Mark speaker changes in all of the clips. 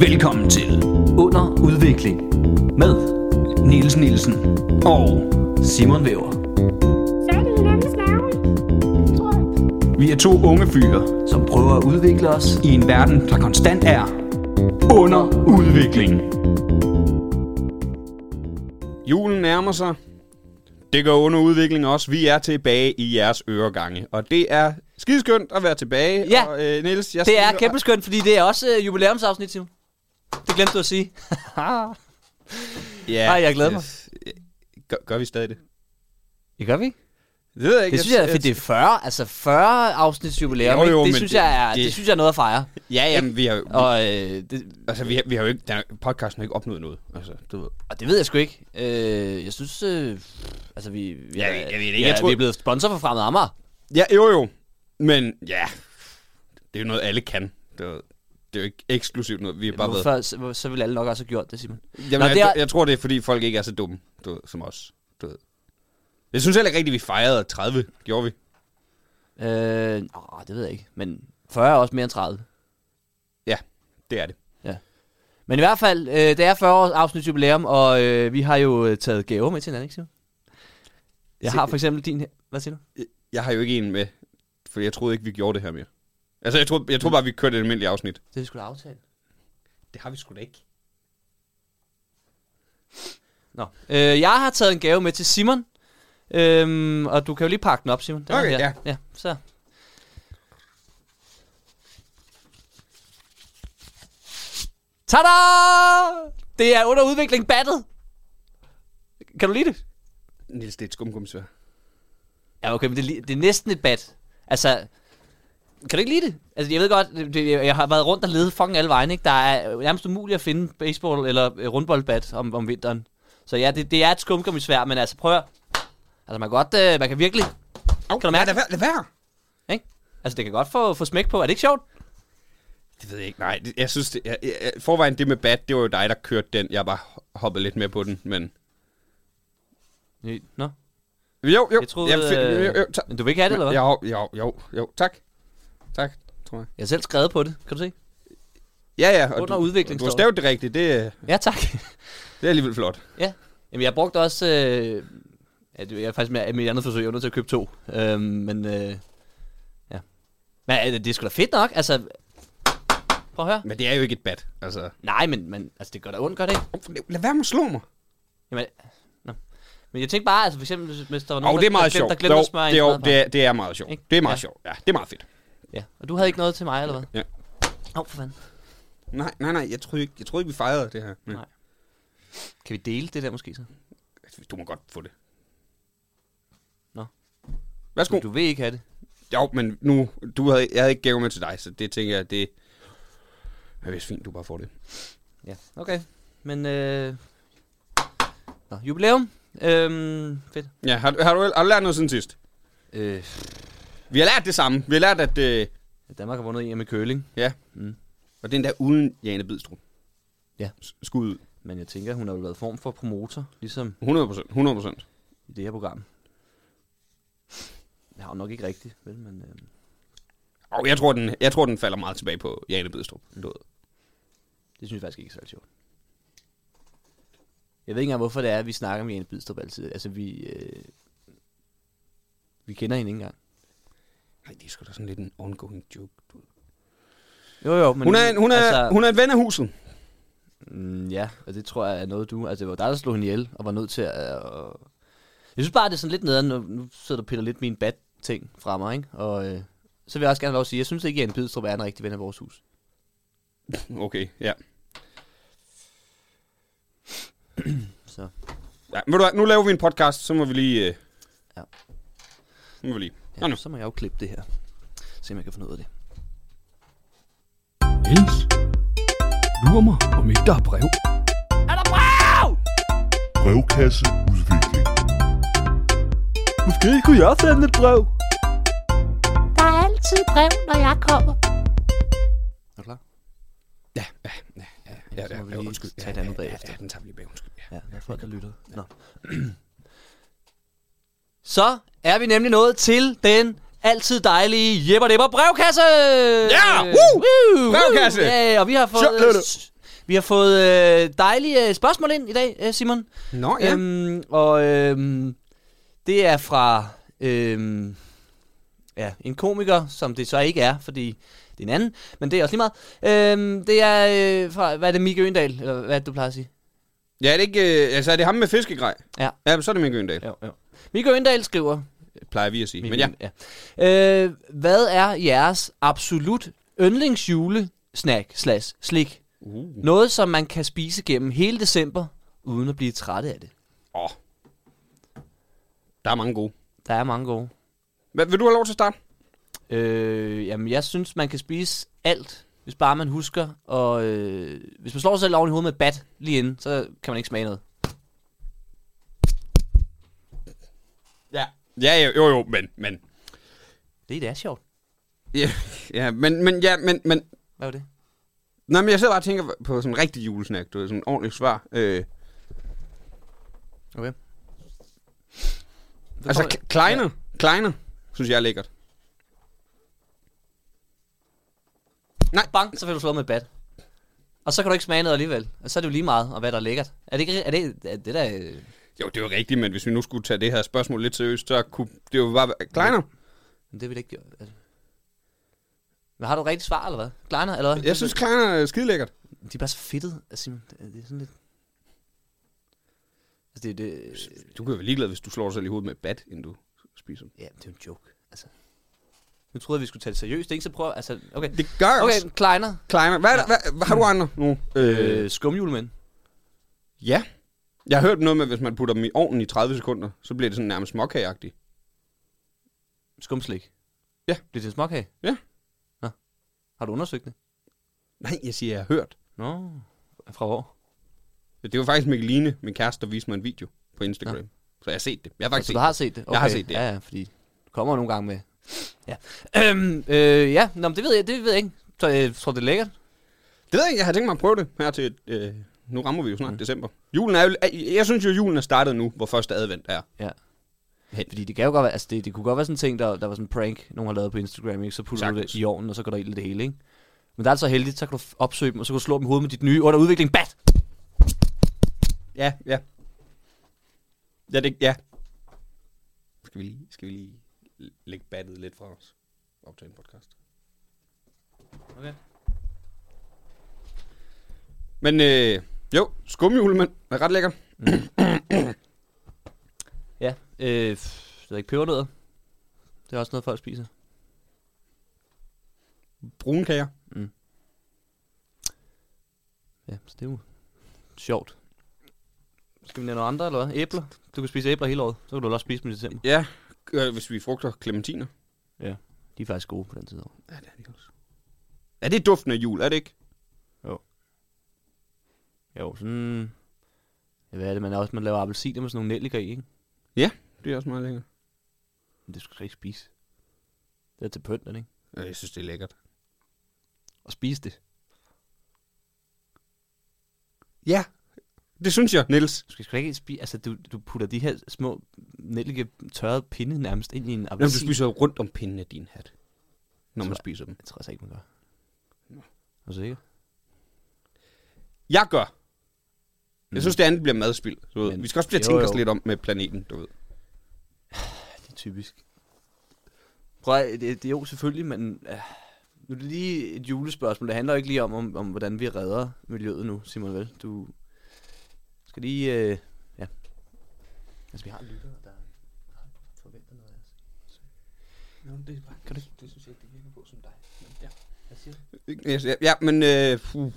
Speaker 1: Velkommen til Under Udvikling med Niels Nielsen og Simon Væver.
Speaker 2: Fat i hinandens navle. Tror jeg.
Speaker 1: Vi er to unge fyre
Speaker 3: som prøver at udvikle os.
Speaker 1: i en verden, der konstant er under udvikling.
Speaker 4: Julen nærmer sig. Det går under udvikling også. Vi er tilbage i jeres øregange. Og det er skideskønt at være tilbage.
Speaker 3: Ja.
Speaker 4: Og, øh, Niels, jeg
Speaker 3: Altså, Det er
Speaker 4: smiler-
Speaker 3: kæmpe skønt, fordi det er også øh, jubilæumsafsnit, Simon. Det glemte du at sige.
Speaker 4: Ja,
Speaker 3: Ej, jeg glæder mig.
Speaker 4: øh, Gør, gør vi stadig det?
Speaker 3: Det gør vi.
Speaker 4: Det ved jeg ikke.
Speaker 3: Det synes jeg, fordi det er 40, altså 40 afsnits jubilæum.
Speaker 4: Jo,
Speaker 3: Jo,
Speaker 4: jo,
Speaker 3: jo, det,
Speaker 4: men
Speaker 3: synes
Speaker 4: det-
Speaker 3: jeg er, det,
Speaker 4: det-
Speaker 3: synes jeg er noget at fejre.
Speaker 4: Ja, jamen, vi har jo...
Speaker 3: Og, øh, det,
Speaker 4: Altså, vi har, vi har jo ikke... Der, podcasten har ikke opnået noget. Altså, du ved.
Speaker 3: og det ved jeg sgu ikke. Øh, jeg synes, øh, altså vi, vi, er,
Speaker 4: Jeg ved- jeg ved det ikke.
Speaker 3: vi, er,
Speaker 4: Jeg tror-
Speaker 3: vi er blevet sponsor for Fremad Amager.
Speaker 4: Ja, jo, jo. Men ja, det er jo noget, alle kan. Det er, det er jo ikke eksklusivt noget. Vi har bare været...
Speaker 3: Hvorfor, så, hvor- så ville alle nok også have gjort det, Simon.
Speaker 4: Jamen,
Speaker 3: Nå,
Speaker 4: jeg,
Speaker 3: det er-
Speaker 4: jeg tror, det er, fordi folk ikke er så dumme du ved, som os. Du ved. Jeg synes heller ikke rigtigt, vi fejrede 30. Gjorde vi?
Speaker 3: Øh, åh, det ved jeg ikke, men 40 er også mere end 30.
Speaker 4: Ja, det er det.
Speaker 3: Men i hvert fald, øh, det er 40 års afsnit jubilæum, og øh, vi har jo øh, taget gaver med til hinanden, ikke Simon? Jeg
Speaker 4: Se-
Speaker 3: har for eksempel din her. Hvad siger du?
Speaker 4: Jeg har jo ikke en med, for jeg troede ikke, vi gjorde det her mere. Altså, jeg troede, jeg troede bare, vi kørte et almindeligt afsnit.
Speaker 3: Det er sgu da aftalt.
Speaker 4: Det har vi sgu da ikke.
Speaker 3: Nå. Øh, jeg har taget en gave med til Simon. Øhm, og du kan jo lige pakke den op, Simon. Den er
Speaker 4: Okay,
Speaker 3: her.
Speaker 4: ja.
Speaker 3: ja. så. Tada! Det er under udvikling battet. Kan du lide det?
Speaker 4: Niels, det er et skumgumsvær.
Speaker 3: Ja, okay, men det, er li- det er næsten et bat. Altså, kan du ikke lide det? Altså, jeg ved godt, det, det- jeg har været rundt og ledet fucking alle vegne, ikke? Der er øh, nærmest umuligt at finde baseball- eller øh, rundboldbat om, om vinteren. Så ja, det, det er et skumgummisvær, men altså, prøv at... Altså, man kan godt... Øh, man kan virkelig...
Speaker 4: Au,
Speaker 3: Kan du mærke
Speaker 4: nej, lad være, lad være.
Speaker 3: Ikke? Altså, det kan godt få, få smæk på. Er det ikke sjovt?
Speaker 4: Det ved jeg ikke. Nej, det, jeg synes, det, jeg, jeg, jeg- forvejen det med bat, det var jo dig, der kørte den. Jeg har bare ho- hoppet lidt med på den, men...
Speaker 3: Nå.
Speaker 4: Jo, jo.
Speaker 3: Jeg troede...
Speaker 4: jeg, fi-
Speaker 3: øh,
Speaker 4: jo, jo, ta-
Speaker 3: men du vil ikke have det, eller hvad?
Speaker 4: jo, jo, jo, jo, tak. Tak, tror jeg.
Speaker 3: Jeg har selv skrevet på det. Kan du se?
Speaker 4: Ja, ja. og
Speaker 3: Under
Speaker 4: du,
Speaker 3: udvikling
Speaker 4: Du har
Speaker 3: står der.
Speaker 4: stavet det rigtigt. Det, øh,
Speaker 3: Ja, tak.
Speaker 4: det er alligevel flot.
Speaker 3: ja. Jamen, jeg brugte også... Øh, ja, det, jeg er faktisk med, med mit andet forsøg, jeg var nødt til at købe to. Øhm, men... Øh, ja. Men øh, det er sgu da fedt nok. Altså... Prøv at høre.
Speaker 4: Men det er jo ikke et bat, altså.
Speaker 3: Nej, men, men altså, det gør da ondt, gør det ikke?
Speaker 4: Lad være med at slå mig.
Speaker 3: Jamen, nå. Men jeg tænkte bare, altså for eksempel, hvis- hvis der var nogen,
Speaker 4: Og det er
Speaker 3: der, der,
Speaker 4: meget
Speaker 3: glemte,
Speaker 4: sjovt.
Speaker 3: der glemte
Speaker 4: Jo,
Speaker 3: at smøre
Speaker 4: det, er, jo-
Speaker 3: en
Speaker 4: det, er, det er meget sjovt.
Speaker 3: Ikke?
Speaker 4: Det er meget
Speaker 3: Ja.
Speaker 4: sjovt. Ja, det er meget fedt.
Speaker 3: Ja, og du havde ikke noget til mig, eller hvad?
Speaker 4: Ja.
Speaker 3: Åh, oh, for fanden.
Speaker 4: Nej, nej, nej, jeg troede ikke, jeg troede ikke vi fejrede det her.
Speaker 3: Nej. Kan vi dele det der måske så?
Speaker 4: Du må godt få det.
Speaker 3: Nå.
Speaker 4: Værsgo.
Speaker 3: Du, du vil ikke have det.
Speaker 4: Jo, men nu, du havde, jeg havde ikke gave med til dig, så det tænker jeg, det er vist fint, du bare får det.
Speaker 3: Ja, okay. Men, øh... Nå, jubilæum. Øhm, fedt.
Speaker 4: Ja, har, har, du, har du lært noget siden sidst?
Speaker 3: Øh,
Speaker 4: Vi har lært det samme. Vi har lært, at... Øh,
Speaker 3: Danmark har vundet EM i Køling,
Speaker 4: ja.
Speaker 3: Mm.
Speaker 4: Mm. Og den der uden Jane Bidstrup.
Speaker 3: Ja.
Speaker 4: S- Skud ud.
Speaker 3: men jeg tænker, hun har jo været form for promotor, ligesom
Speaker 4: 100 procent. 100 procent.
Speaker 3: i det her program. Jeg har jo nok ikke rigtigt, vel, men... Øh...
Speaker 4: Og jeg tror, den, jeg tror, den falder meget tilbage på Jane Bidstrup. Du ved.
Speaker 3: Det synes jeg faktisk ikke er særlig sjovt. Jeg ved ikke engang, hvorfor det er, at vi snakker med Jane Bidstrup altid. Altså, vi... Øh, vi kender hende ikke engang.
Speaker 4: Nej, det er sgu da sådan lidt en ongoing joke. Du. ved.
Speaker 3: Jo, jo, men...
Speaker 4: Hun er, en, hun, er, altså... hun er en ven af huset.
Speaker 3: Mm, ja, og det tror jeg er noget, du... Altså, det var dig, der slog hende ihjel, og var nødt til at... Øh, jeg synes bare, det er sådan lidt nederen, nu, nu sidder du og piller lidt min bat-ting fra mig, ikke? Og øh, så vil jeg også gerne have lov at sige, jeg synes ikke, at Jane Bidstrup er en rigtig ven af vores hus.
Speaker 4: Okay, ja.
Speaker 3: Så,
Speaker 4: ja ved du hvad, nu laver vi en podcast, så må vi lige... Øh...
Speaker 3: Ja.
Speaker 4: Nu må vi lige. Nå,
Speaker 3: ja,
Speaker 4: nu.
Speaker 3: så må jeg jo klippe det her. Se, om jeg kan finde ud af det.
Speaker 1: Niels, lurer mig, om ikke der er brev.
Speaker 5: brevkasse udvikling.
Speaker 1: Måske kunne jeg sende et brev.
Speaker 2: Der er altid brev, når jeg kommer.
Speaker 3: Er du klar?
Speaker 4: Ja, ja, ja, ja, ja,
Speaker 3: så må
Speaker 4: ja,
Speaker 3: vi
Speaker 4: ja,
Speaker 3: lige
Speaker 4: undskyld.
Speaker 3: tage et
Speaker 4: Ja,
Speaker 3: andet
Speaker 4: ja, ja,
Speaker 3: bagefter.
Speaker 4: Ja, den tager vi lige bag, undskyld. Ja.
Speaker 3: Ja, der er folk, der lytter. Nå. Så er vi nemlig nået til den altid dejlige Jeppe Depper brevkasse!
Speaker 4: Ja! Woo!
Speaker 3: Woo!
Speaker 4: Brevkasse!
Speaker 3: Ja, og vi har fået
Speaker 4: Sjovt, Lulu.
Speaker 3: s- Vi har fået øh, dejlige øh, spørgsmål ind i dag, øh, Simon.
Speaker 4: Nå ja. Øhm.
Speaker 3: Øhm, og øhm, det er fra øhm, ja, en komiker, som det så ikke er, fordi det er en anden, men det er også lige meget. Øhm, det er øh, fra, hvad er det, Mikke Øendal, eller hvad er det, du plejer at sige?
Speaker 4: Ja, er det ikke... Øh, altså, er det ham med fiskegrej?
Speaker 3: Ja.
Speaker 4: Ja, men så er det Mikke Øndal,
Speaker 3: Jo, jo. Mikke Øendal skriver,
Speaker 4: plejer vi at sige.
Speaker 3: Min
Speaker 4: Men ja,
Speaker 3: ja. ja. Øh, hvad er jeres absolut yndlingsjulesnack slash slik? Uh. Noget, som man kan spise gennem hele december, uden at blive træt af det.
Speaker 4: åh. Der er mange gode.
Speaker 3: Der er mange gode.
Speaker 4: Hvad, vil du have lov til at starte?
Speaker 3: Øh, jamen, jeg synes, man kan spise alt, hvis bare man husker. Og øh, hvis man slår sig selv oven i hovedet med et bat lige inden, så kan man ikke smage noget.
Speaker 4: Ja. Ja, jo, jo, jo men... men.
Speaker 3: Det, det er sjovt.
Speaker 4: Ja, ja, men, men, ja, men, men,
Speaker 3: Hvad var det?
Speaker 4: Nej, men jeg sidder bare og tænker på sådan en rigtig julesnack, du ved, sådan en ordentlig svar. Øh,
Speaker 3: Okay.
Speaker 4: altså,
Speaker 3: kommer-
Speaker 4: K- Kleiner, ja. Kleiner, synes jeg er lækkert.
Speaker 3: Bang, så får du slået med et bat. Og så kan du ikke smage noget alligevel. Og så er det jo lige meget, og hvad der er lækkert. Er det ikke... Er det, er det der... øh,
Speaker 4: Jo, det er jo rigtigt, men hvis vi nu skulle tage det her spørgsmål lidt seriøst, så kunne det jo bare være... Kleiner?
Speaker 3: Men det vil det ikke gøre. Altså. Men har du rigtigt svar, eller hvad? Kleiner, eller hvad?
Speaker 4: Jeg synes, Kleiner er skide lækkert.
Speaker 3: De er bare så fedtet. Altså, det er det er sådan lidt... Altså, det, det,
Speaker 4: Du kan jo være ligeglad, hvis du slår dig selv i hovedet med et bat, inden du spiser dem.
Speaker 3: ja, det er jo en joke. Altså. Nu troede jeg, vi skulle tage det seriøst, ikke? Så prøv... Altså, okay.
Speaker 4: Det gør jeg
Speaker 3: Okay,
Speaker 4: også.
Speaker 3: Kleiner.
Speaker 4: Kleiner, hvad, ja. hvad, har du andre nu?
Speaker 3: Øh, skumjulemænd.
Speaker 4: ja. Jeg har hørt noget med, at hvis man putter dem i ovnen i 30 sekunder, så bliver det sådan nærmest småkageagtigt.
Speaker 3: Skumslik.
Speaker 4: Ja.
Speaker 3: Bliver det en småkage?
Speaker 4: Ja.
Speaker 3: Nå. Har du undersøgt det?
Speaker 4: Nej, jeg siger, jeg har hørt.
Speaker 3: Nå. Fra hvor?
Speaker 4: Det var faktisk Mikkeline, min kæreste, der viste mig en video på Instagram. Ja. Så jeg har set det. Jeg har faktisk
Speaker 3: Altså,
Speaker 4: set
Speaker 3: du har set det?
Speaker 4: Jeg har set det.
Speaker 3: Ja, ja, fordi du kommer nogle gange med. Ja. Øhm, øh, ja, Nå, men det ved jeg, det ved jeg ikke. Så, jeg tror, det er lækkert.
Speaker 4: det. Det ved jeg ikke, jeg har tænkt mig at prøve det her til... Øh, nu rammer vi jo snart mm. december. Julen er jo, jeg- jeg synes jo, julen er startet nu, hvor første advent er.
Speaker 3: Ja.
Speaker 4: Hent.
Speaker 3: Fordi det kan jo godt være, altså det, det kunne godt være sådan en ting, der, der var sådan en prank, nogen har lavet på Instagram, ikke? så putter du
Speaker 4: Sagtens.
Speaker 3: det i ovnen, og så går der ild i det hele, ikke? Men der er det så heldigt, så kan du f- opsøge dem, og så kan du slå dem i hovedet med dit nye under udvikling. Bat!
Speaker 4: Ja, ja. Ja, det, ja. Skal vi lige, skal vi lige lægge battet lidt fra os? Optage en podcast.
Speaker 3: Okay.
Speaker 4: Men øh, jo, skumjulemand er ret lækker.
Speaker 3: Ja, øh, pff, det er ikke pebernødder. Det er også noget, folk spiser.
Speaker 4: Brunkager.
Speaker 3: Ja, så det er jo sjovt. Skal vi nævne noget andre, eller hvad? Æbler? Du kan spise æbler hele året, så kan du vel også spise dem i december.
Speaker 4: Ja, øh, hvis vi frugter clementiner.
Speaker 3: Ja. De er faktisk gode på den tid. af året.
Speaker 4: Ja, det er det også. Er det duften af jul, er det ikke?
Speaker 3: Jo, sådan... Ja, hvad er det, man er også, man laver appelsiner med sådan nogle nelliker i, ikke?
Speaker 4: Ja, det er også meget lækkert.
Speaker 3: Men det skal du så ikke spise. Det er til pynten, ikke?
Speaker 4: Ja, Øh, jeg synes, det er lækkert.
Speaker 3: Og spise det.
Speaker 4: Ja, det synes jeg, Niels.
Speaker 3: Du skal sgu da ikke spise... Altså, du, du putter de her små nellike tørrede pinde nærmest ind i en
Speaker 4: Jamen, du
Speaker 3: appelsin.
Speaker 4: spiser jo rundt om pinden af din hat, når man
Speaker 3: Så-
Speaker 4: spiser dem.
Speaker 3: Jeg tror altså ikke, man gør. Er du sikker?
Speaker 4: Jeg gør. Jeg synes, det andet bliver madspild. Du ved.
Speaker 3: Mhm. Men-
Speaker 4: vi skal også blive at
Speaker 3: jo,
Speaker 4: tænke os
Speaker 3: jo.
Speaker 4: lidt om med planeten, du ved.
Speaker 3: Det er typisk. Prøv at, det, det, er jo selvfølgelig, men... Øh, nu er det lige et julespørgsmål. Det handler jo ikke lige om, om, om hvordan vi redder miljøet nu, Simon Vel. Du skal lige... Øh, ja. Altså, vi har en lytter, der forventer noget af os. Nå, det er bare, kan du, det synes jeg ikke, det virker på som dig. Ja. Hvad siger du?
Speaker 4: Yes, ja, Ja, men øh, puh,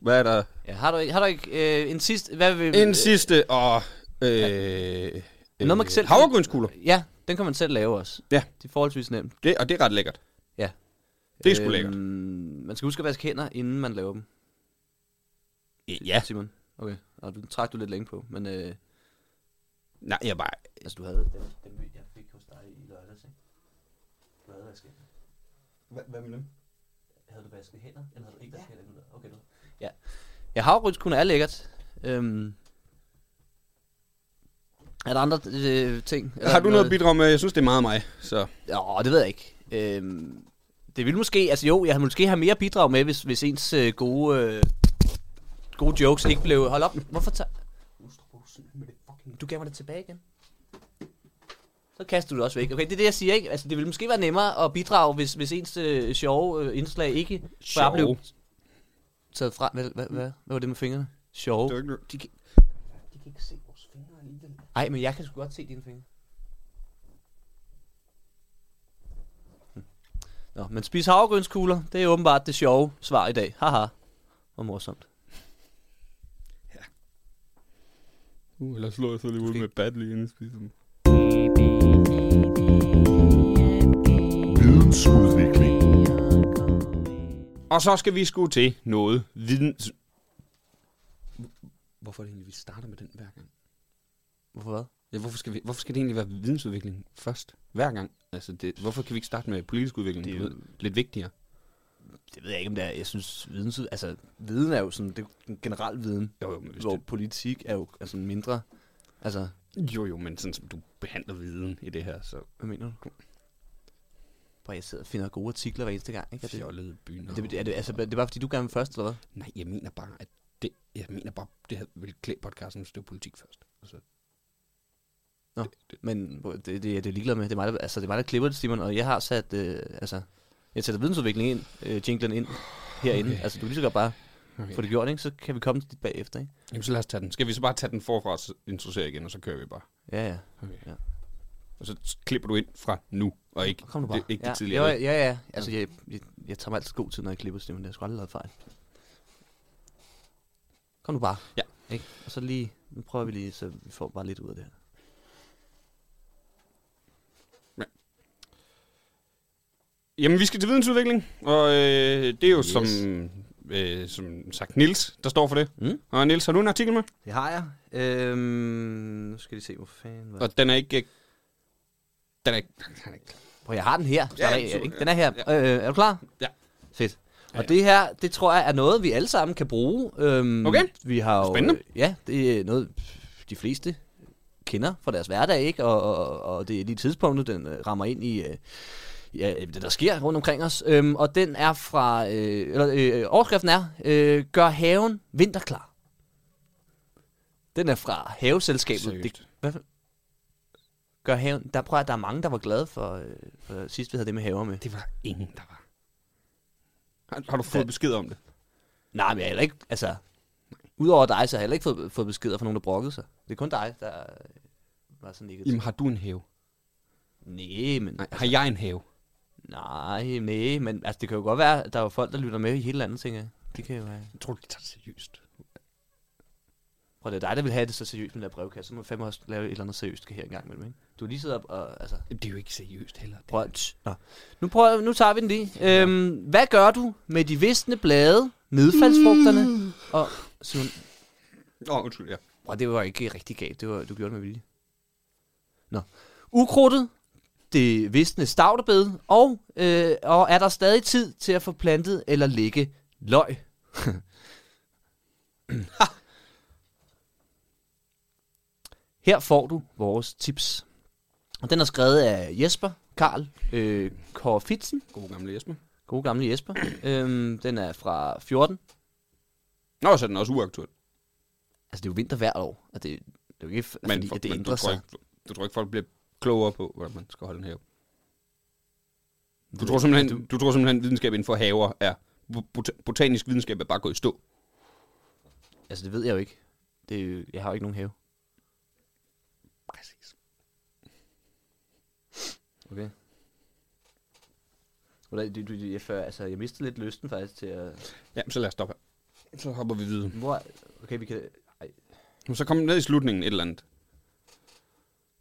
Speaker 4: hvad er der?
Speaker 3: Ja, har du ikke, har du ikke øh, en sidste... Hvad vil,
Speaker 4: En sidste og... Øh, øh,
Speaker 3: Noget, man kan selv-
Speaker 4: havregrynskugler.
Speaker 3: Ja, den kan man selv lave også.
Speaker 4: Ja.
Speaker 3: Det er forholdsvis nemt.
Speaker 4: Det, og det er ret lækkert.
Speaker 3: Ja. Øhm,
Speaker 4: Det er sgu lækkert.
Speaker 3: Man skal huske at vaske hænder, inden man laver dem, øh,
Speaker 4: Ja.
Speaker 3: Simon. Okay, og du trak du lidt længe på, men øh,
Speaker 4: Nej, jeg er bare...
Speaker 3: altså du havde den, den by, jeg fik hos dig i lørdags, ikke? Du havde vasket hænder.
Speaker 4: Hvad med dem?
Speaker 3: Havde du vasket hænder, eller havde du ikke vasket ja. hænder? Okay, du. Ja. Ja, havregrynskugler er lækkert. Øhm, er der andre øh, ting? Eller
Speaker 4: Har du noget at bidrage med? Jeg synes, det er meget mig. Så
Speaker 3: Åh, det ved jeg ikke. Øhm, det ville måske, altså jo, jeg havde måske have mere bidrag med, hvis, hvis ens øh, gode øh, gode jokes ikke blev... Hold op. Hvorfor tager... Du gav mig det tilbage igen. Så kaster du det også væk. Okay, det er det, jeg siger, ikke? Altså, det ville måske være nemmere at bidrage, hvis, hvis ens øh, sjove øh, indslag ikke bare blev taget fra. Hvad, hvad, hvad, hvad var det med fingrene? Sjove.
Speaker 4: Det var ikke noget-
Speaker 3: de, kan... de kan ikke se vores fingre alligevel. Ej, men jeg kan sgu godt se dine fingre. Hm. Nå, men spis havregrynskugler, det er åbenbart det sjove svar i dag. Haha, hvor morsomt.
Speaker 4: Uh, eller slår jeg så lige ud med bat lige inden jeg spiser dem.
Speaker 5: Vidensudvikling.
Speaker 4: Og så skal vi sgu til noget videns... Hvorfor er det egentlig, vi starter med den hver gang?
Speaker 3: Hvorfor hvad?
Speaker 4: Ja, hvorfor, skal vi, hvorfor skal det egentlig være vidensudvikling først? Hver gang? Altså, det, hvorfor kan vi ikke starte med politisk udvikling?
Speaker 3: Det
Speaker 4: Det
Speaker 3: er
Speaker 4: er ved, lidt vigtigere.
Speaker 3: Det ved jeg ikke, om det er. Jeg synes, viden, altså, viden er jo sådan, det er jo generel viden,
Speaker 4: Jo, jo, men, hvis
Speaker 3: hvor politik er jo altså, mindre. Altså,
Speaker 4: du, jo, jo, men sådan som du behandler viden i det her, så
Speaker 3: hvad mener du? Bare jeg sidder og finder gode artikler hver eneste gang, ikke? Er det,
Speaker 4: fjollede byen.
Speaker 3: er det, er det, altså, er det bare, fordi du gerne vil først, eller hvad?
Speaker 4: Nej, jeg mener bare, at det, jeg mener bare, det her ville klæde podcasten, hvis det var politik først. Altså,
Speaker 3: Men hvor- det, det, er det ligeglad med. Det er mig, der, altså, det er mig, der klipper det, Simon, og jeg har sat, øh, altså, jeg sætter vidensudvikling ind, øh, jinglen ind herinde. Okay.
Speaker 4: Okay.
Speaker 3: Altså, du kan lige så godt bare
Speaker 4: okay.
Speaker 3: få det gjort, ikke? Så kan vi komme til dit bagefter, ikke?
Speaker 4: Jamen, så lad os tage den. Skal vi så bare tage den forfra og så introducere igen, og så kører vi bare.
Speaker 3: Ja, ja.
Speaker 4: Okay.
Speaker 3: Ja.
Speaker 4: Ja. Og så klipper du ind fra nu, og ikke,
Speaker 3: Kom nu bare.
Speaker 4: Det, ikke
Speaker 3: ja.
Speaker 4: det tidligere.
Speaker 3: Jo, ja, ja. Altså, jeg, jeg, jeg tager mig altid god tid, når jeg klipper, Simon. Jeg har sgu aldrig lavet fejl. Kom nu bare.
Speaker 4: Ja.
Speaker 3: Ikke? Og så lige, nu prøver vi lige, så vi får bare lidt ud af det her.
Speaker 4: Jamen, vi skal til vidensudvikling, og øh, det er jo yes.
Speaker 3: Yes.
Speaker 4: som, øh, som sagt Nils der står for det.
Speaker 3: Mm.
Speaker 4: Og Nils har du en artikel med?
Speaker 3: Det har jeg. Øhm, nu skal de se, hvor fanden var
Speaker 4: Og den er ikke... øh, Den er ikke... Den er ikke
Speaker 3: Prøv, jeg har den her.
Speaker 4: super,
Speaker 3: Ja, jeg, ikke? Den er her. Ja. Øh, er du klar?
Speaker 4: Ja.
Speaker 3: Fedt.
Speaker 4: Ja,
Speaker 3: Og
Speaker 4: ja.
Speaker 3: det her, det tror jeg er noget, vi alle sammen kan bruge. Øhm,
Speaker 4: Okay.
Speaker 3: Vi har jo,
Speaker 4: Spændende.
Speaker 3: Øh, ja, det er noget, de fleste kender fra deres hverdag, ikke? Og, og, og det er lige tidspunktet, den øh, rammer ind i, øh, ja, det, der sker rundt omkring os. Øhm, og den er fra, øh, eller øh, overskriften er, øh, gør haven vinterklar. Den er fra haveselskabet.
Speaker 4: Seriøst?
Speaker 3: Det, hvad, for- gør haven, der prøver jeg, der er mange, der var glade for, øh, for sidst vi havde det med haver med.
Speaker 4: Det var ingen, der var. Har, har du fået
Speaker 3: Ja.
Speaker 4: besked om det?
Speaker 3: Nej, men jeg har heller ikke, altså, udover dig, så har jeg heller ikke fået, fået beskeder fra nogen, der brokkede sig. Det er kun dig, der øh, var sådan negativ.
Speaker 4: Jamen, har du en have?
Speaker 3: Nej, men... altså,
Speaker 4: Nej, har jeg en have?
Speaker 3: Nej, nej, men altså, det kan jo godt være, at der er jo folk, der lytter med i hele landet, tænker jeg. Det kan jo være.
Speaker 4: Jeg tror, du ikke tager det seriøst.
Speaker 3: Prøv, det er dig, der vil have det så seriøst med den der brevkasse. Så må vi fandme også lave et eller andet seriøst her engang imellem, ikke? Du har lige siddet op og, altså...
Speaker 4: Jamen, Det er jo ikke seriøst heller. Det.
Speaker 3: Prøv, at- tss, nå. Nu, prøver, nu tager vi den lige. Øhm, hvad gør du med de visne blade, nedfaldsfrugterne og... Simon,
Speaker 4: Mm. Åh, oh, undskyld, ja.
Speaker 3: Bro, det var ikke rigtig galt. Det var, du gjorde det med vilje. Nå. Ukrudtet, det visne stavterbed, og, øh, og er der stadig tid til at få plantet eller lægge løg? Ha! Her får du vores tips. Og den er skrevet af Jesper Karl øh, Korfitsen.
Speaker 4: God gamle Jesper.
Speaker 3: God gamle Jesper. øhm, den er fra 14.
Speaker 4: Nå, så er den også uaktuel.
Speaker 3: Altså, det er jo vinter hvert år, og det, det er jo ikke, f-
Speaker 4: Men,
Speaker 3: fordi,
Speaker 4: for,
Speaker 3: at det
Speaker 4: men
Speaker 3: ændrer
Speaker 4: du, tror
Speaker 3: sig.
Speaker 4: ikke, du, du tror ikke, folk bliver klogere på, hvordan man skal holde en have? Du tror simpelthen, du, du tror simpelthen videnskab inden for haver er... Bot- botanisk videnskab er bare gået i stå.
Speaker 3: Altså, det ved jeg jo ikke. Det er jo, jeg har jo ikke nogen have.
Speaker 4: Præcis.
Speaker 3: Okay. Du, du, du, jeg, før, altså, jeg mistede lidt lysten faktisk til at...
Speaker 4: Ja, så lad os stoppe her. Så hopper vi videre.
Speaker 3: Hvor, okay, vi kan... Ej,
Speaker 4: Men Så kom den ned i slutningen et eller andet.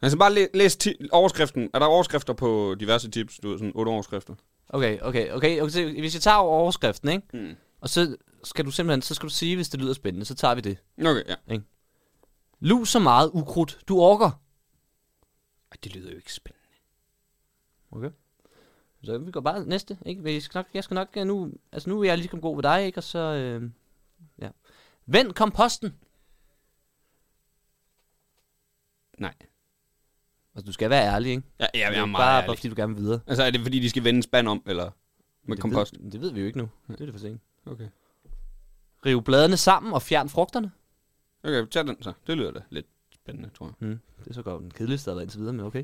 Speaker 4: Altså bare læ- læs ti- overskriften. Er der overskrifter på diverse tips? Du ved, sådan otte overskrifter.
Speaker 3: okay, okay, okay, okay. så Hvis jeg tager over overskriften, ikke?
Speaker 4: Mm.
Speaker 3: Og så skal du simpelthen... Så skal du sige, hvis det lyder spændende, så tager vi det.
Speaker 4: Okay, ja.
Speaker 3: Lus så meget ukrudt, du orker.
Speaker 4: Ej, det lyder jo ikke spændende.
Speaker 3: Okay. Så vi går bare næste, ikke? Men Jeg skal nok, jeg skal nok øh, nu... Altså, nu er jeg ligesom god ved dig, ikke? Og så... Øh, ja. Vend komposten.
Speaker 4: Nej.
Speaker 3: Altså, du skal være ærlig, ikke?
Speaker 4: Ja, ja jeg
Speaker 3: Det
Speaker 4: er
Speaker 3: ikke
Speaker 4: meget
Speaker 3: bare,
Speaker 4: ærlig.
Speaker 3: bare fordi du gerne vil videre.
Speaker 4: Altså er det fordi, de skal vende spand om, eller med
Speaker 3: Det
Speaker 4: kompost?
Speaker 3: Ved, det ved vi jo ikke nu. Det er det for sent.
Speaker 4: Okay.
Speaker 3: Rive bladene sammen og fjern frugterne.
Speaker 4: Okay, tag den så. Det lyder da lidt spændende, tror jeg.
Speaker 3: Hmm. Det er så godt den kedeligste, der er indtil videre, men okay.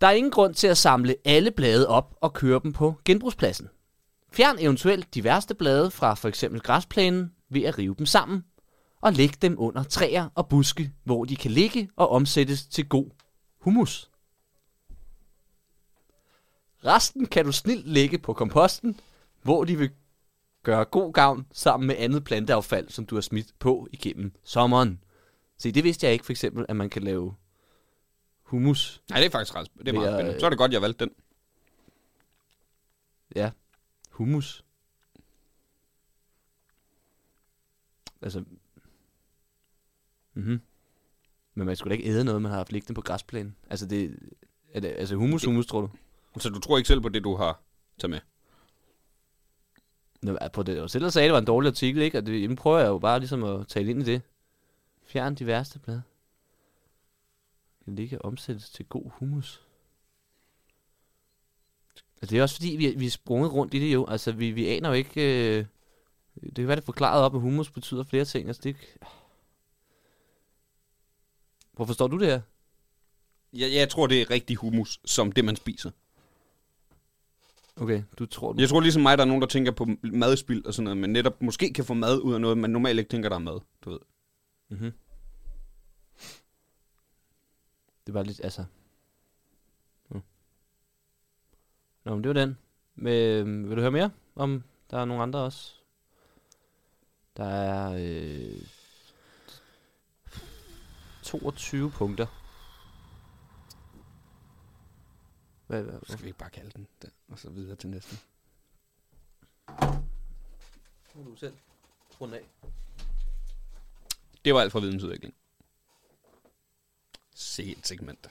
Speaker 3: Der er ingen grund til at samle alle blade op og køre dem på genbrugspladsen. Fjern eventuelt de værste blade fra for eksempel græsplænen ved at rive dem sammen og læg dem under træer og buske, hvor de kan ligge og omsættes til god humus. Resten kan du snilt lægge på komposten, hvor de vil gøre god gavn sammen med andet planteaffald, som du har smidt på igennem sommeren. Se, det vidste jeg ikke for eksempel, at man kan lave humus.
Speaker 4: Nej, det er faktisk ret det er meget
Speaker 3: Mere,
Speaker 4: spændende.
Speaker 3: øh,
Speaker 4: Så er det godt, jeg valgte den.
Speaker 3: Ja, humus. Altså, mhm. Men man skulle da ikke æde noget, man har haft liggende på græsplænen. Altså, det, er det altså humus, humus, tror du?
Speaker 4: Så du tror ikke selv på det, du har taget med?
Speaker 3: Nå, på det, og selv sagde, at det var en dårlig artikel, ikke? Og det, jamen, prøver jeg jo bare ligesom at tale ind i det. Fjern de værste blade. Den ligger omsættes til god humus. Altså, det er også fordi, vi, vi er sprunget rundt i det jo. Altså, vi, vi aner jo ikke... Øh, det kan være, det er forklaret op, at humus betyder flere ting. Altså, det er ikke... Hvor forstår du det her?
Speaker 4: Jeg, jeg tror, det er rigtig hummus, som det, man spiser.
Speaker 3: Okay, du tror... Du...
Speaker 4: Jeg tror ligesom mig, der er nogen, der tænker på madspild og sådan noget, men netop måske kan få mad ud af noget, man normalt ikke tænker, der er mad, du ved.
Speaker 3: Mm-hmm. Det var lidt, altså... Mm. Nå, men det var den. Men, vil du høre mere om, der er nogle andre også? Der er øh, 22 punkter. Hvad, hvad,
Speaker 4: Så skal vi ikke bare kalde den, den og så videre til næste.
Speaker 3: hvad? Du selv runde af.
Speaker 4: Det var alt fra vidensudvikling. Se et segment.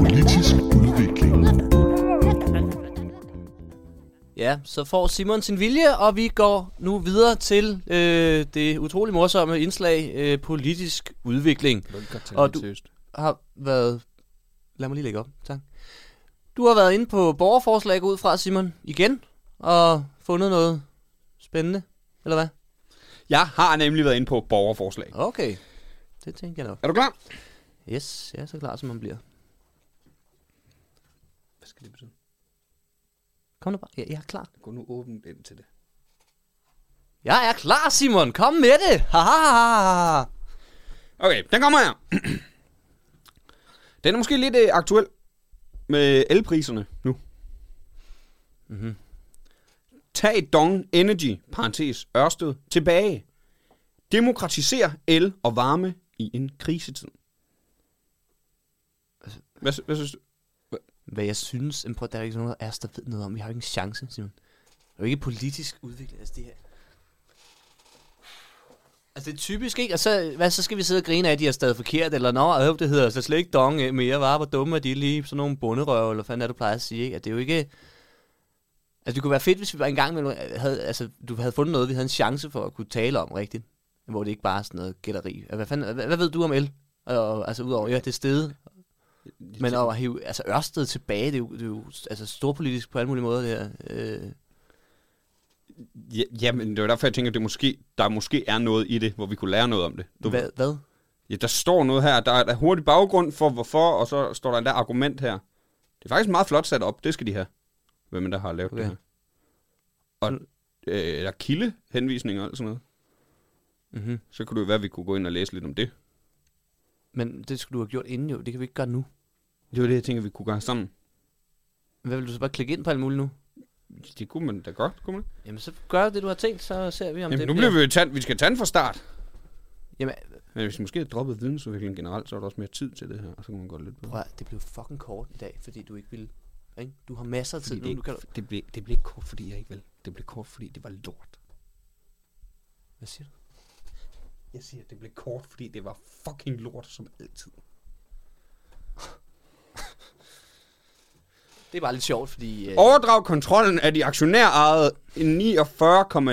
Speaker 5: Politisk udvikling.
Speaker 3: Ja, så får Simon sin vilje, og vi går nu videre til øh, det utrolig morsomme indslag øh, politisk udvikling. Og du- Har været... Lad mig lige lægge op, tak. Du har været inde på borgerforslag går ud fra, Simon, igen, og fundet noget spændende, eller hvad?
Speaker 4: Jeg har nemlig været inde på borgerforslag.
Speaker 3: Okay, det tænkte jeg nok.
Speaker 4: Er du klar?
Speaker 3: Yes, jeg er så klar, som man bliver.
Speaker 4: Hvad skal det betyde?
Speaker 3: Kom nu bare, jeg, jeg er klar.
Speaker 4: Gå nu åbent ind til det.
Speaker 3: Jeg er klar, Simon, kom med det! Ha, ha, ha, ha.
Speaker 4: Okay, den kommer her. Den er måske lidt øh, aktuel med elpriserne nu. Mm-hmm. Tag Dong Energy, parentes Ørsted, tilbage. Demokratiser el og varme i en krisetid. Hvad, sy- hvad synes du?
Speaker 3: Hvad jeg synes, em, prøv, der er ikke nogen af os, der ved noget om. Vi har jo ikke en chance, Simon. Det er jo ikke politisk udviklet, altså det her. Altså det er typisk, ikke? Og så, hvad, så skal vi sidde og grine af, at de har stadig forkert, eller nå, øh, det hedder altså slet ikke dong øh, mere, var hvor dumme er de lige, sådan nogle bunderøve, eller hvad fanden er det, du plejer at sige, ikke? At det er jo ikke... Altså det kunne være fedt, hvis vi bare engang imellem havde, altså, du havde fundet noget, vi havde en chance for at kunne tale om rigtigt. Hvor det ikke bare er sådan noget gætteri. Hvad, fanden, hvad, hvad ved du om el? Og, og, altså udover, ja, det er stedet, men at hive altså Ørsted tilbage, det er jo, det er jo altså storpolitisk på alle mulige måder, det her. Øh,
Speaker 4: Ja, jamen, det var derfor, jeg tænker, at det måske, der måske er noget i det, hvor vi kunne lære noget om det. Du,
Speaker 3: hvad, hvad?
Speaker 4: Ja, der står noget her. Der er der er hurtig baggrund for hvorfor, og så står der en der argument her. Det er faktisk meget flot sat op. Det skal de have. Hvem end der har lavet okay.
Speaker 3: Okay.
Speaker 4: det her. Og øh, der er kildehenvisninger og alt sådan noget.
Speaker 3: Mm-hmm.
Speaker 4: Så kunne det jo være, at vi kunne gå ind og læse lidt om det.
Speaker 3: Men det skulle du have gjort inden jo, det kan vi ikke gøre nu.
Speaker 4: Det var det, jeg tænker, vi kunne gøre sammen.
Speaker 3: Hvad vil du så bare klikke ind på alt muligt nu?
Speaker 4: Det kunne man da godt, kunne man? ikke?
Speaker 3: Jamen så gør det, du har tænkt, så ser vi om
Speaker 4: Jamen,
Speaker 3: det
Speaker 4: nu bliver vi jo tand, vi skal tande fra start.
Speaker 3: Jamen,
Speaker 4: Men hvis vi måske havde droppet vidensudviklingen generelt, så er der også mere tid til det her, og så kunne man godt lidt bedre.
Speaker 3: prøv, at- det blev fucking kort i dag, fordi du ikke ville... Ikke? Du har masser af tid
Speaker 4: Fordi
Speaker 3: nu, du kan...
Speaker 4: det, blev, det blev ikke kort, fordi jeg ikke vil. Det blev kort, fordi det var lort.
Speaker 3: Hvad siger du?
Speaker 4: Jeg siger, det blev kort, fordi det var fucking lort, som altid.
Speaker 3: Det er bare lidt sjovt, fordi... Øh,
Speaker 4: Overdrag kontrollen af de aktionærejede 49,9%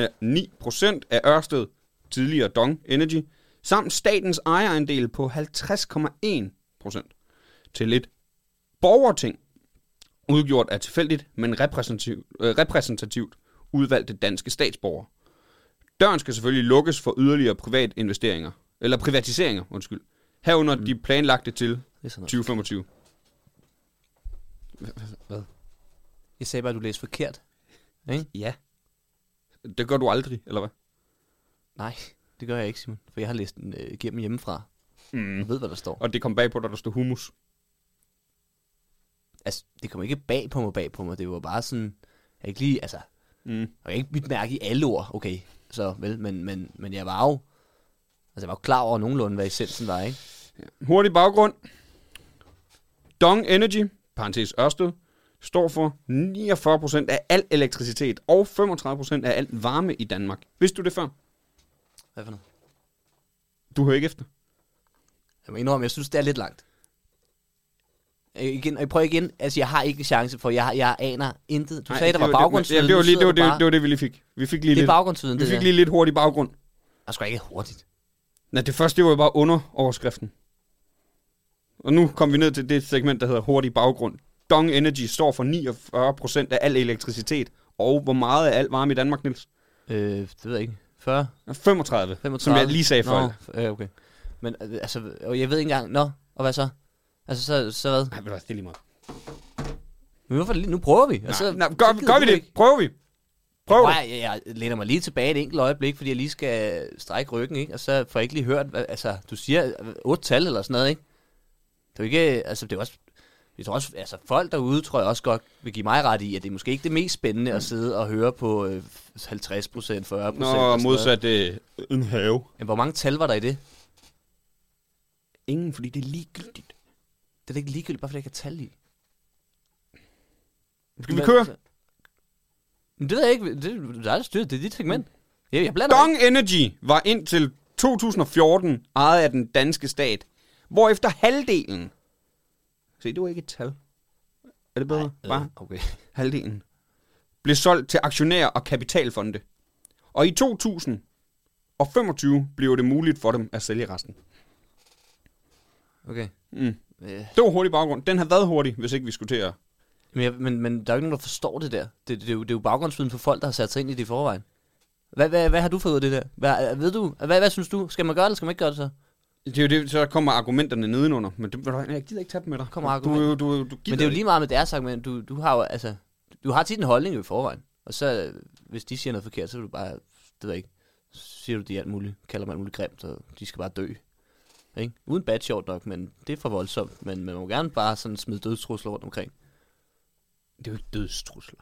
Speaker 4: af Ørsted, tidligere Dong Energy, samt statens ejerandel på 50,1% til et borgerting udgjort af tilfældigt, men repræsentativt, øh, repræsentativt udvalgte danske statsborgere. Døren skal selvfølgelig lukkes for yderligere privat investeringer, eller privatiseringer, undskyld. Herunder mm. de planlagte til
Speaker 3: Det er sådan noget.
Speaker 4: 2025.
Speaker 3: Jeg sagde bare, at du læste forkert. Ikke?
Speaker 4: Ja. Det gør du aldrig, eller hvad?
Speaker 3: Nej, det gør jeg ikke, Simon. For jeg har læst den øh, igennem hjemmefra.
Speaker 4: Mm.
Speaker 3: Jeg ved, hvad der står.
Speaker 4: Og det kom bag på dig, der stod humus.
Speaker 3: Altså, det kom ikke bag på mig, bag på mig. Det var bare sådan... Jeg ikke lige, altså...
Speaker 4: Mm.
Speaker 3: Og jeg ikke mit mærke i alle ord, okay. Så vel, men, men, men jeg var jo... Altså, jeg var jo klar over nogenlunde, hvad essensen var, ikke?
Speaker 4: Hurtig baggrund. Dong Energy, parentes Ørsted, står for 49% af al elektricitet og 35% af al varme i Danmark. Vidste du det før?
Speaker 3: Hvad for noget?
Speaker 4: Du hører ikke efter.
Speaker 3: Jeg må indrømme, jeg synes, det er lidt langt. Øh, Igen, og jeg prøver igen, altså jeg har ikke en chance for, jeg, har- jeg aner intet. Du Nej, sagde, der var baggrundsviden.
Speaker 4: Ja, det var,
Speaker 3: nu
Speaker 4: lige, det,
Speaker 3: sidder
Speaker 4: var, det,
Speaker 3: du bare-
Speaker 4: det, var det, vi lige fik. Vi fik lige
Speaker 3: det er
Speaker 4: lidt,
Speaker 3: baggrundsviden,
Speaker 4: vi
Speaker 3: det
Speaker 4: fik
Speaker 3: der.
Speaker 4: lige lidt hurtig baggrund.
Speaker 3: Jeg skal ikke hurtigt.
Speaker 4: Nej, det første det var jo bare underoverskriften. Og nu kom vi ned til det segment, der hedder hurtig baggrund. Dong Energy står for 49% af al elektricitet. Og hvor meget af al varme i Danmark, Niels?
Speaker 3: Øh, det ved jeg ikke. 40?
Speaker 4: 35,
Speaker 3: 35?
Speaker 4: som jeg lige sagde før.
Speaker 3: Nå, f- ja, okay. Men øh, altså, og jeg ved ikke engang, nå, og hvad så? Altså, så, så hvad?
Speaker 4: Nej, men det er lige meget.
Speaker 3: Men hvorfor lige, nu prøver vi. Og
Speaker 4: Altså,
Speaker 3: så,
Speaker 4: nej, gør,
Speaker 3: så gider
Speaker 4: gør
Speaker 3: du
Speaker 4: vi det?
Speaker 3: ikke.
Speaker 4: Prøver vi? Prøv det.
Speaker 3: Jeg, jeg, jeg læner mig lige tilbage et enkelt øjeblik, fordi jeg lige skal strække ryggen, ikke? Og så får jeg ikke lige hørt, hvad, altså, du siger øh, otte tal eller sådan noget, ikke? Det er jo ikke, altså, det er jo også, jeg tror også, altså, folk derude tror jeg også godt vil give mig ret i, at det er måske ikke det mest spændende at sidde og høre på øh, 50 procent, 40 procent.
Speaker 4: Nå, modsat øh, en have.
Speaker 3: Men hvor mange tal var der i det?
Speaker 4: Ingen, fordi det er ligegyldigt.
Speaker 3: Det er da ikke ligegyldigt, bare fordi jeg kan tal i. Altså,
Speaker 4: Skal vi køre?
Speaker 3: Men det ved jeg ikke. Det, der er styr, det er dit segment. Jeg, jeg blander
Speaker 4: Dong Energy var indtil 2014 ejet af den danske stat, hvorefter halvdelen... Se, det var ikke et tal. Er det bedre?
Speaker 3: ikke.
Speaker 4: Bare
Speaker 3: Øh, Okay.
Speaker 4: halvdelen. Blev solgt til aktionærer og kapitalfonde. Og i 2025 blev det muligt for dem at sælge resten.
Speaker 3: okay.
Speaker 4: Mm.
Speaker 3: Øh,
Speaker 4: Det var hurtig baggrund. Den har været hurtig, hvis ikke vi skulle til at...
Speaker 3: Men, jeg, men, men der er jo ikke nogen, der forstår det der. Det, det, det, er, jo, det er jo baggrundsviden for folk, der har sat sig ind i det i forvejen. Hvad, hvad, hvad har du fået ud af det der? Hvad, ved du? Hvad, hvad synes du? Skal man gøre det, eller skal man ikke gøre det så?
Speaker 4: Det er jo det, så kommer argumenterne nedenunder. Men det, ved du hvad, jeg gider ikke tage dem med dig.
Speaker 3: Kommer
Speaker 4: du, du, du, du gider
Speaker 3: Men det er jo
Speaker 4: ikke.
Speaker 3: lige meget med deres argument. Du, du har jo, altså, du har tit en holdning jo i forvejen. Og så, øh, hvis de siger noget forkert, så vil du bare, det ved jeg ikke, så siger du de alt muligt, kalder man alt muligt grimt, og de skal bare dø. Ikke? Uden bad sjovt nok, men det er for voldsomt. Men man må gerne bare sådan smide dødstrusler rundt omkring.
Speaker 4: Det er jo ikke dødstrusler.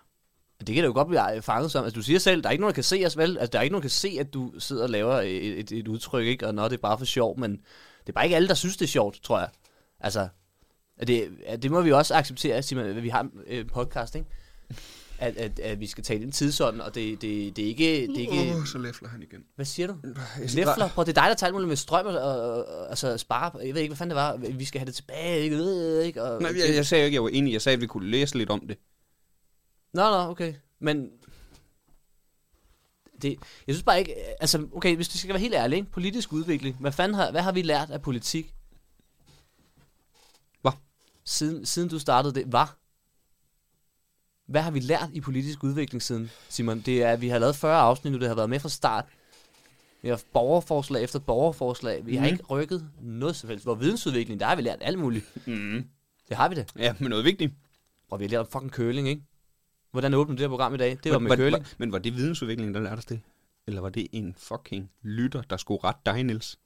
Speaker 3: Men Det kan da jo godt blive ej, fanget som. Altså, du siger selv, der er ikke nogen, der kan se os, vel? Altså, der er ikke nogen, der kan se, at du sidder og laver et, et, et udtryk, ikke? Og nå, det er bare for sjov, men det er bare ikke alle, der synes, det er sjovt, tror jeg. Altså, at det, at det må vi også acceptere, Simon, at vi har øh, en podcast, ikke? At, at, at, vi skal tale ind tidsånden, og det, det, det er ikke... Det er ikke
Speaker 4: så læfler han igen.
Speaker 3: hvad siger du?
Speaker 4: Jeg skal
Speaker 3: Læfler? Prøv, det er dig, der tager alt muligt med strøm og, og, og, og altså, spare. Jeg ved ikke, hvad fanden det var. Vi skal have det tilbage, ikke? Øh, ikke? Og,
Speaker 4: Nej, jeg, jeg sagde jo ikke, jeg var enig. Jeg sagde, at vi kunne læse lidt om det.
Speaker 3: Nå, nå, okay. Men... Det, jeg synes bare ikke... Altså, okay, hvis det skal være helt ærligt, ikke? Politisk udvikling. Hvad fanden har, hvad har vi lært af politik?
Speaker 4: Hvad?
Speaker 3: Siden, siden du startede det. Hvad? Hvad har vi lært i politisk udvikling siden, Simon? Det er, at vi har lavet 40 afsnit nu, det har været med fra start. Vi har haft borgerforslag efter borgerforslag. Vi mm. har ikke rykket noget som helst. Hvor vidensudvikling, der har vi lært alt muligt.
Speaker 4: Mm.
Speaker 3: Det har vi da.
Speaker 4: Ja, men noget vigtigt.
Speaker 3: Og vi har lært om fucking curling, ikke? Hvordan åbnede det her program i dag? Det var med
Speaker 4: var,
Speaker 3: curling.
Speaker 4: Var, men var det vidensudviklingen, der lærte os det? Eller var det en fucking lytter, der skulle rette dig, Niels?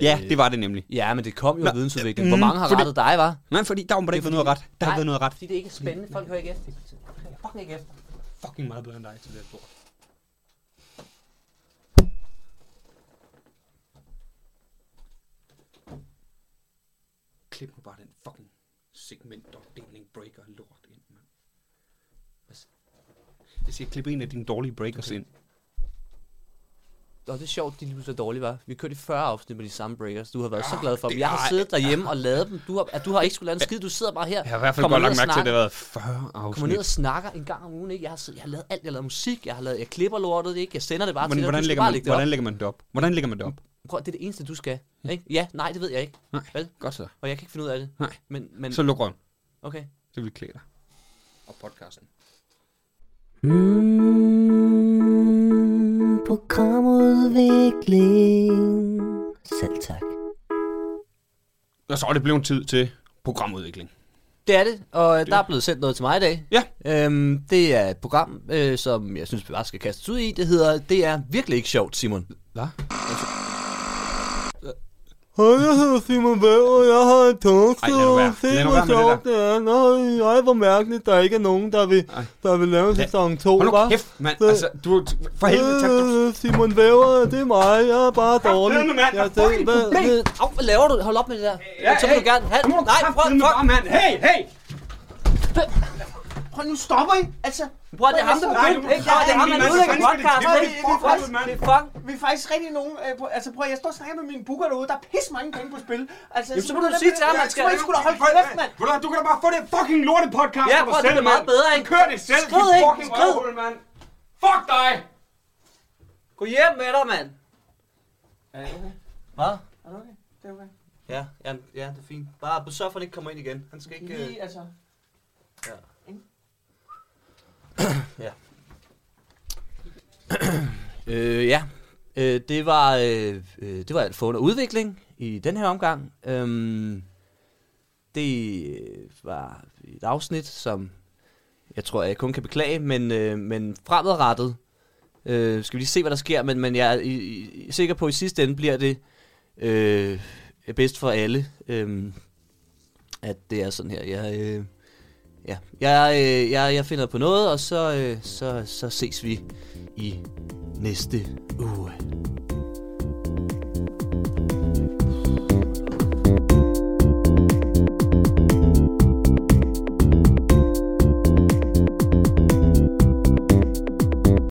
Speaker 4: Ja, det var det nemlig.
Speaker 3: Ja, men det kom jo
Speaker 4: Nå,
Speaker 3: af vidensudvikling.
Speaker 4: øh,
Speaker 3: Hvor
Speaker 4: mm,
Speaker 3: mange har
Speaker 4: fordi-
Speaker 3: rettet dig, var?
Speaker 4: Nej, fordi der har man da ikke været noget ret. Der har været noget ret.
Speaker 3: Fordi det ikke er spændende. Folk hører ikke efter. Fucking ikke efter.
Speaker 4: Fucking meget bedre end dig til det her bord. Klip nu bare den fucking segmentopdeling breaker lort ind, mand. Hvad s- Jeg siger, klip en af dine dårlige breakers ind.
Speaker 3: Nå, det er sjovt, de lige pludselig er dårlige, var. Vi kørte i 40 afsnit med de samme breakers. Du har været så
Speaker 4: Ah,
Speaker 3: glad for dem.
Speaker 4: det
Speaker 3: Jeg har
Speaker 4: er-
Speaker 3: siddet derhjemme og lavet dem. Du har, at du har ikke skulle lave en skid. Du sidder bare her.
Speaker 4: Jeg har i hvert fald
Speaker 3: kommer
Speaker 4: godt
Speaker 3: ned
Speaker 4: lagt
Speaker 3: og
Speaker 4: mærke til, at det
Speaker 3: snakker-
Speaker 4: har været 40
Speaker 3: Kommer ned og
Speaker 4: afsnit.
Speaker 3: snakker en gang om ugen, ikke? Jeg har, siddet, jeg har lavet alt. Jeg har lavet musik. Jeg har lavet, jeg klipper lortet, ikke? Jeg sender det bare
Speaker 4: Men
Speaker 3: til dig.
Speaker 4: hvordan
Speaker 3: Du skal
Speaker 4: lægger,
Speaker 3: bare
Speaker 4: man,
Speaker 3: lægge det op.
Speaker 4: hvordan lægger man det op? Hvordan lægger man det op?
Speaker 3: Prøv, det er det eneste, du skal. Ikke? Ja, nej, det ved jeg ikke.
Speaker 4: Nej,
Speaker 3: Vel?
Speaker 4: godt så.
Speaker 3: Og jeg kan ikke finde ud af det.
Speaker 4: Nej.
Speaker 3: Men, men
Speaker 4: Så luk røven.
Speaker 3: okay.
Speaker 4: Så Det vil klæde dig. Og podcasten.
Speaker 6: Hmm, Mm, programudvikling. Selv tak.
Speaker 4: Og så er det blevet tid til programudvikling.
Speaker 3: Det er det, og det. der er blevet sendt noget til mig i dag.
Speaker 4: Ja.
Speaker 3: Øhm, det er et program, øh, som jeg synes, vi bare skal kaste os ud i. Det hedder Det er virkelig ikke sjovt, Simon.
Speaker 4: Hvad?
Speaker 3: Hej, jeg hedder Simon Bæv, og jeg har en
Speaker 4: Ej, lad nu være.
Speaker 3: tungsted.
Speaker 4: Se, Lad nu hvor være med det sjovt
Speaker 3: det er. Nej, ej, hvor mærkeligt, der ikke er nogen, der vil,
Speaker 4: Ej.
Speaker 3: der vil lave
Speaker 4: Lad-
Speaker 3: sæson 2,
Speaker 4: Hold nu kæft, mand. Altså, du... For helvede, tak. Du...
Speaker 3: Simon Væver, det er mig. Jeg er bare
Speaker 4: dårlig. ned med mand. Jeg er Hvad fucking selv- problem? Hvad-
Speaker 3: Øh, Au, hvad laver du? Hold op med det der. Ja, så vil du gerne have...
Speaker 4: Nu må du
Speaker 3: Nej, prøv,
Speaker 4: kraftedeme
Speaker 3: fuck.
Speaker 4: bare, mand. Hey, hey!
Speaker 3: Prøv, nu stopper I. Altså, prøv, det er ham, der
Speaker 4: Nej,
Speaker 3: begyndte.
Speaker 4: du-
Speaker 3: Ikke? Prøv, det er ham, der
Speaker 4: Nej, nej,
Speaker 3: ødelægger
Speaker 4: nej,
Speaker 3: podcast.
Speaker 4: nej, nej,
Speaker 3: Det
Speaker 4: nej,
Speaker 3: er fuck.
Speaker 4: nej, nej,
Speaker 3: Det er fuck.
Speaker 7: Vi er faktisk rigtig nogen... Øh, på, altså prøv, at- jeg står og snakker med mine booker derude, der er pisse mange penge på spil. Altså,
Speaker 3: Jamen, så må du sige til ham, at han skal-
Speaker 7: skal... Jeg skulle da holde kæft, mand!
Speaker 4: Ved du hvad, Du kan da bare få det fucking lorte podcast for
Speaker 3: Ja,
Speaker 4: dig
Speaker 3: prøv, det
Speaker 4: selv,
Speaker 3: er meget
Speaker 4: mand.
Speaker 3: bedre, ikke?
Speaker 4: Du kører det selv,
Speaker 3: Skrid,
Speaker 4: din
Speaker 3: ikke?
Speaker 4: fucking
Speaker 3: Skrid.
Speaker 4: røvhul, mand. Fuck dig!
Speaker 3: Gå hjem med dig, mand. Hvad?
Speaker 7: Er du okay? Det er okay.
Speaker 3: Ja, ja, ja, det er fint. Bare sørg for, at han ikke kommer ind igen. Han skal ikke... øh,
Speaker 7: Lige, altså...
Speaker 3: Øh, ja, øh, det, var, øh, øh, det var alt for under udvikling i den her omgang. Øhm, det øh, var et afsnit, som jeg tror, jeg kun kan beklage, men, øh, men fremadrettet øh, skal vi lige se, hvad der sker, men, men jeg er i, i, sikker på, at i sidste ende bliver det øh, bedst for alle, øh, at det er sådan her. Jeg, øh, ja, jeg, øh, jeg, jeg finder på noget, og så, øh, så, så ses vi i næste uge.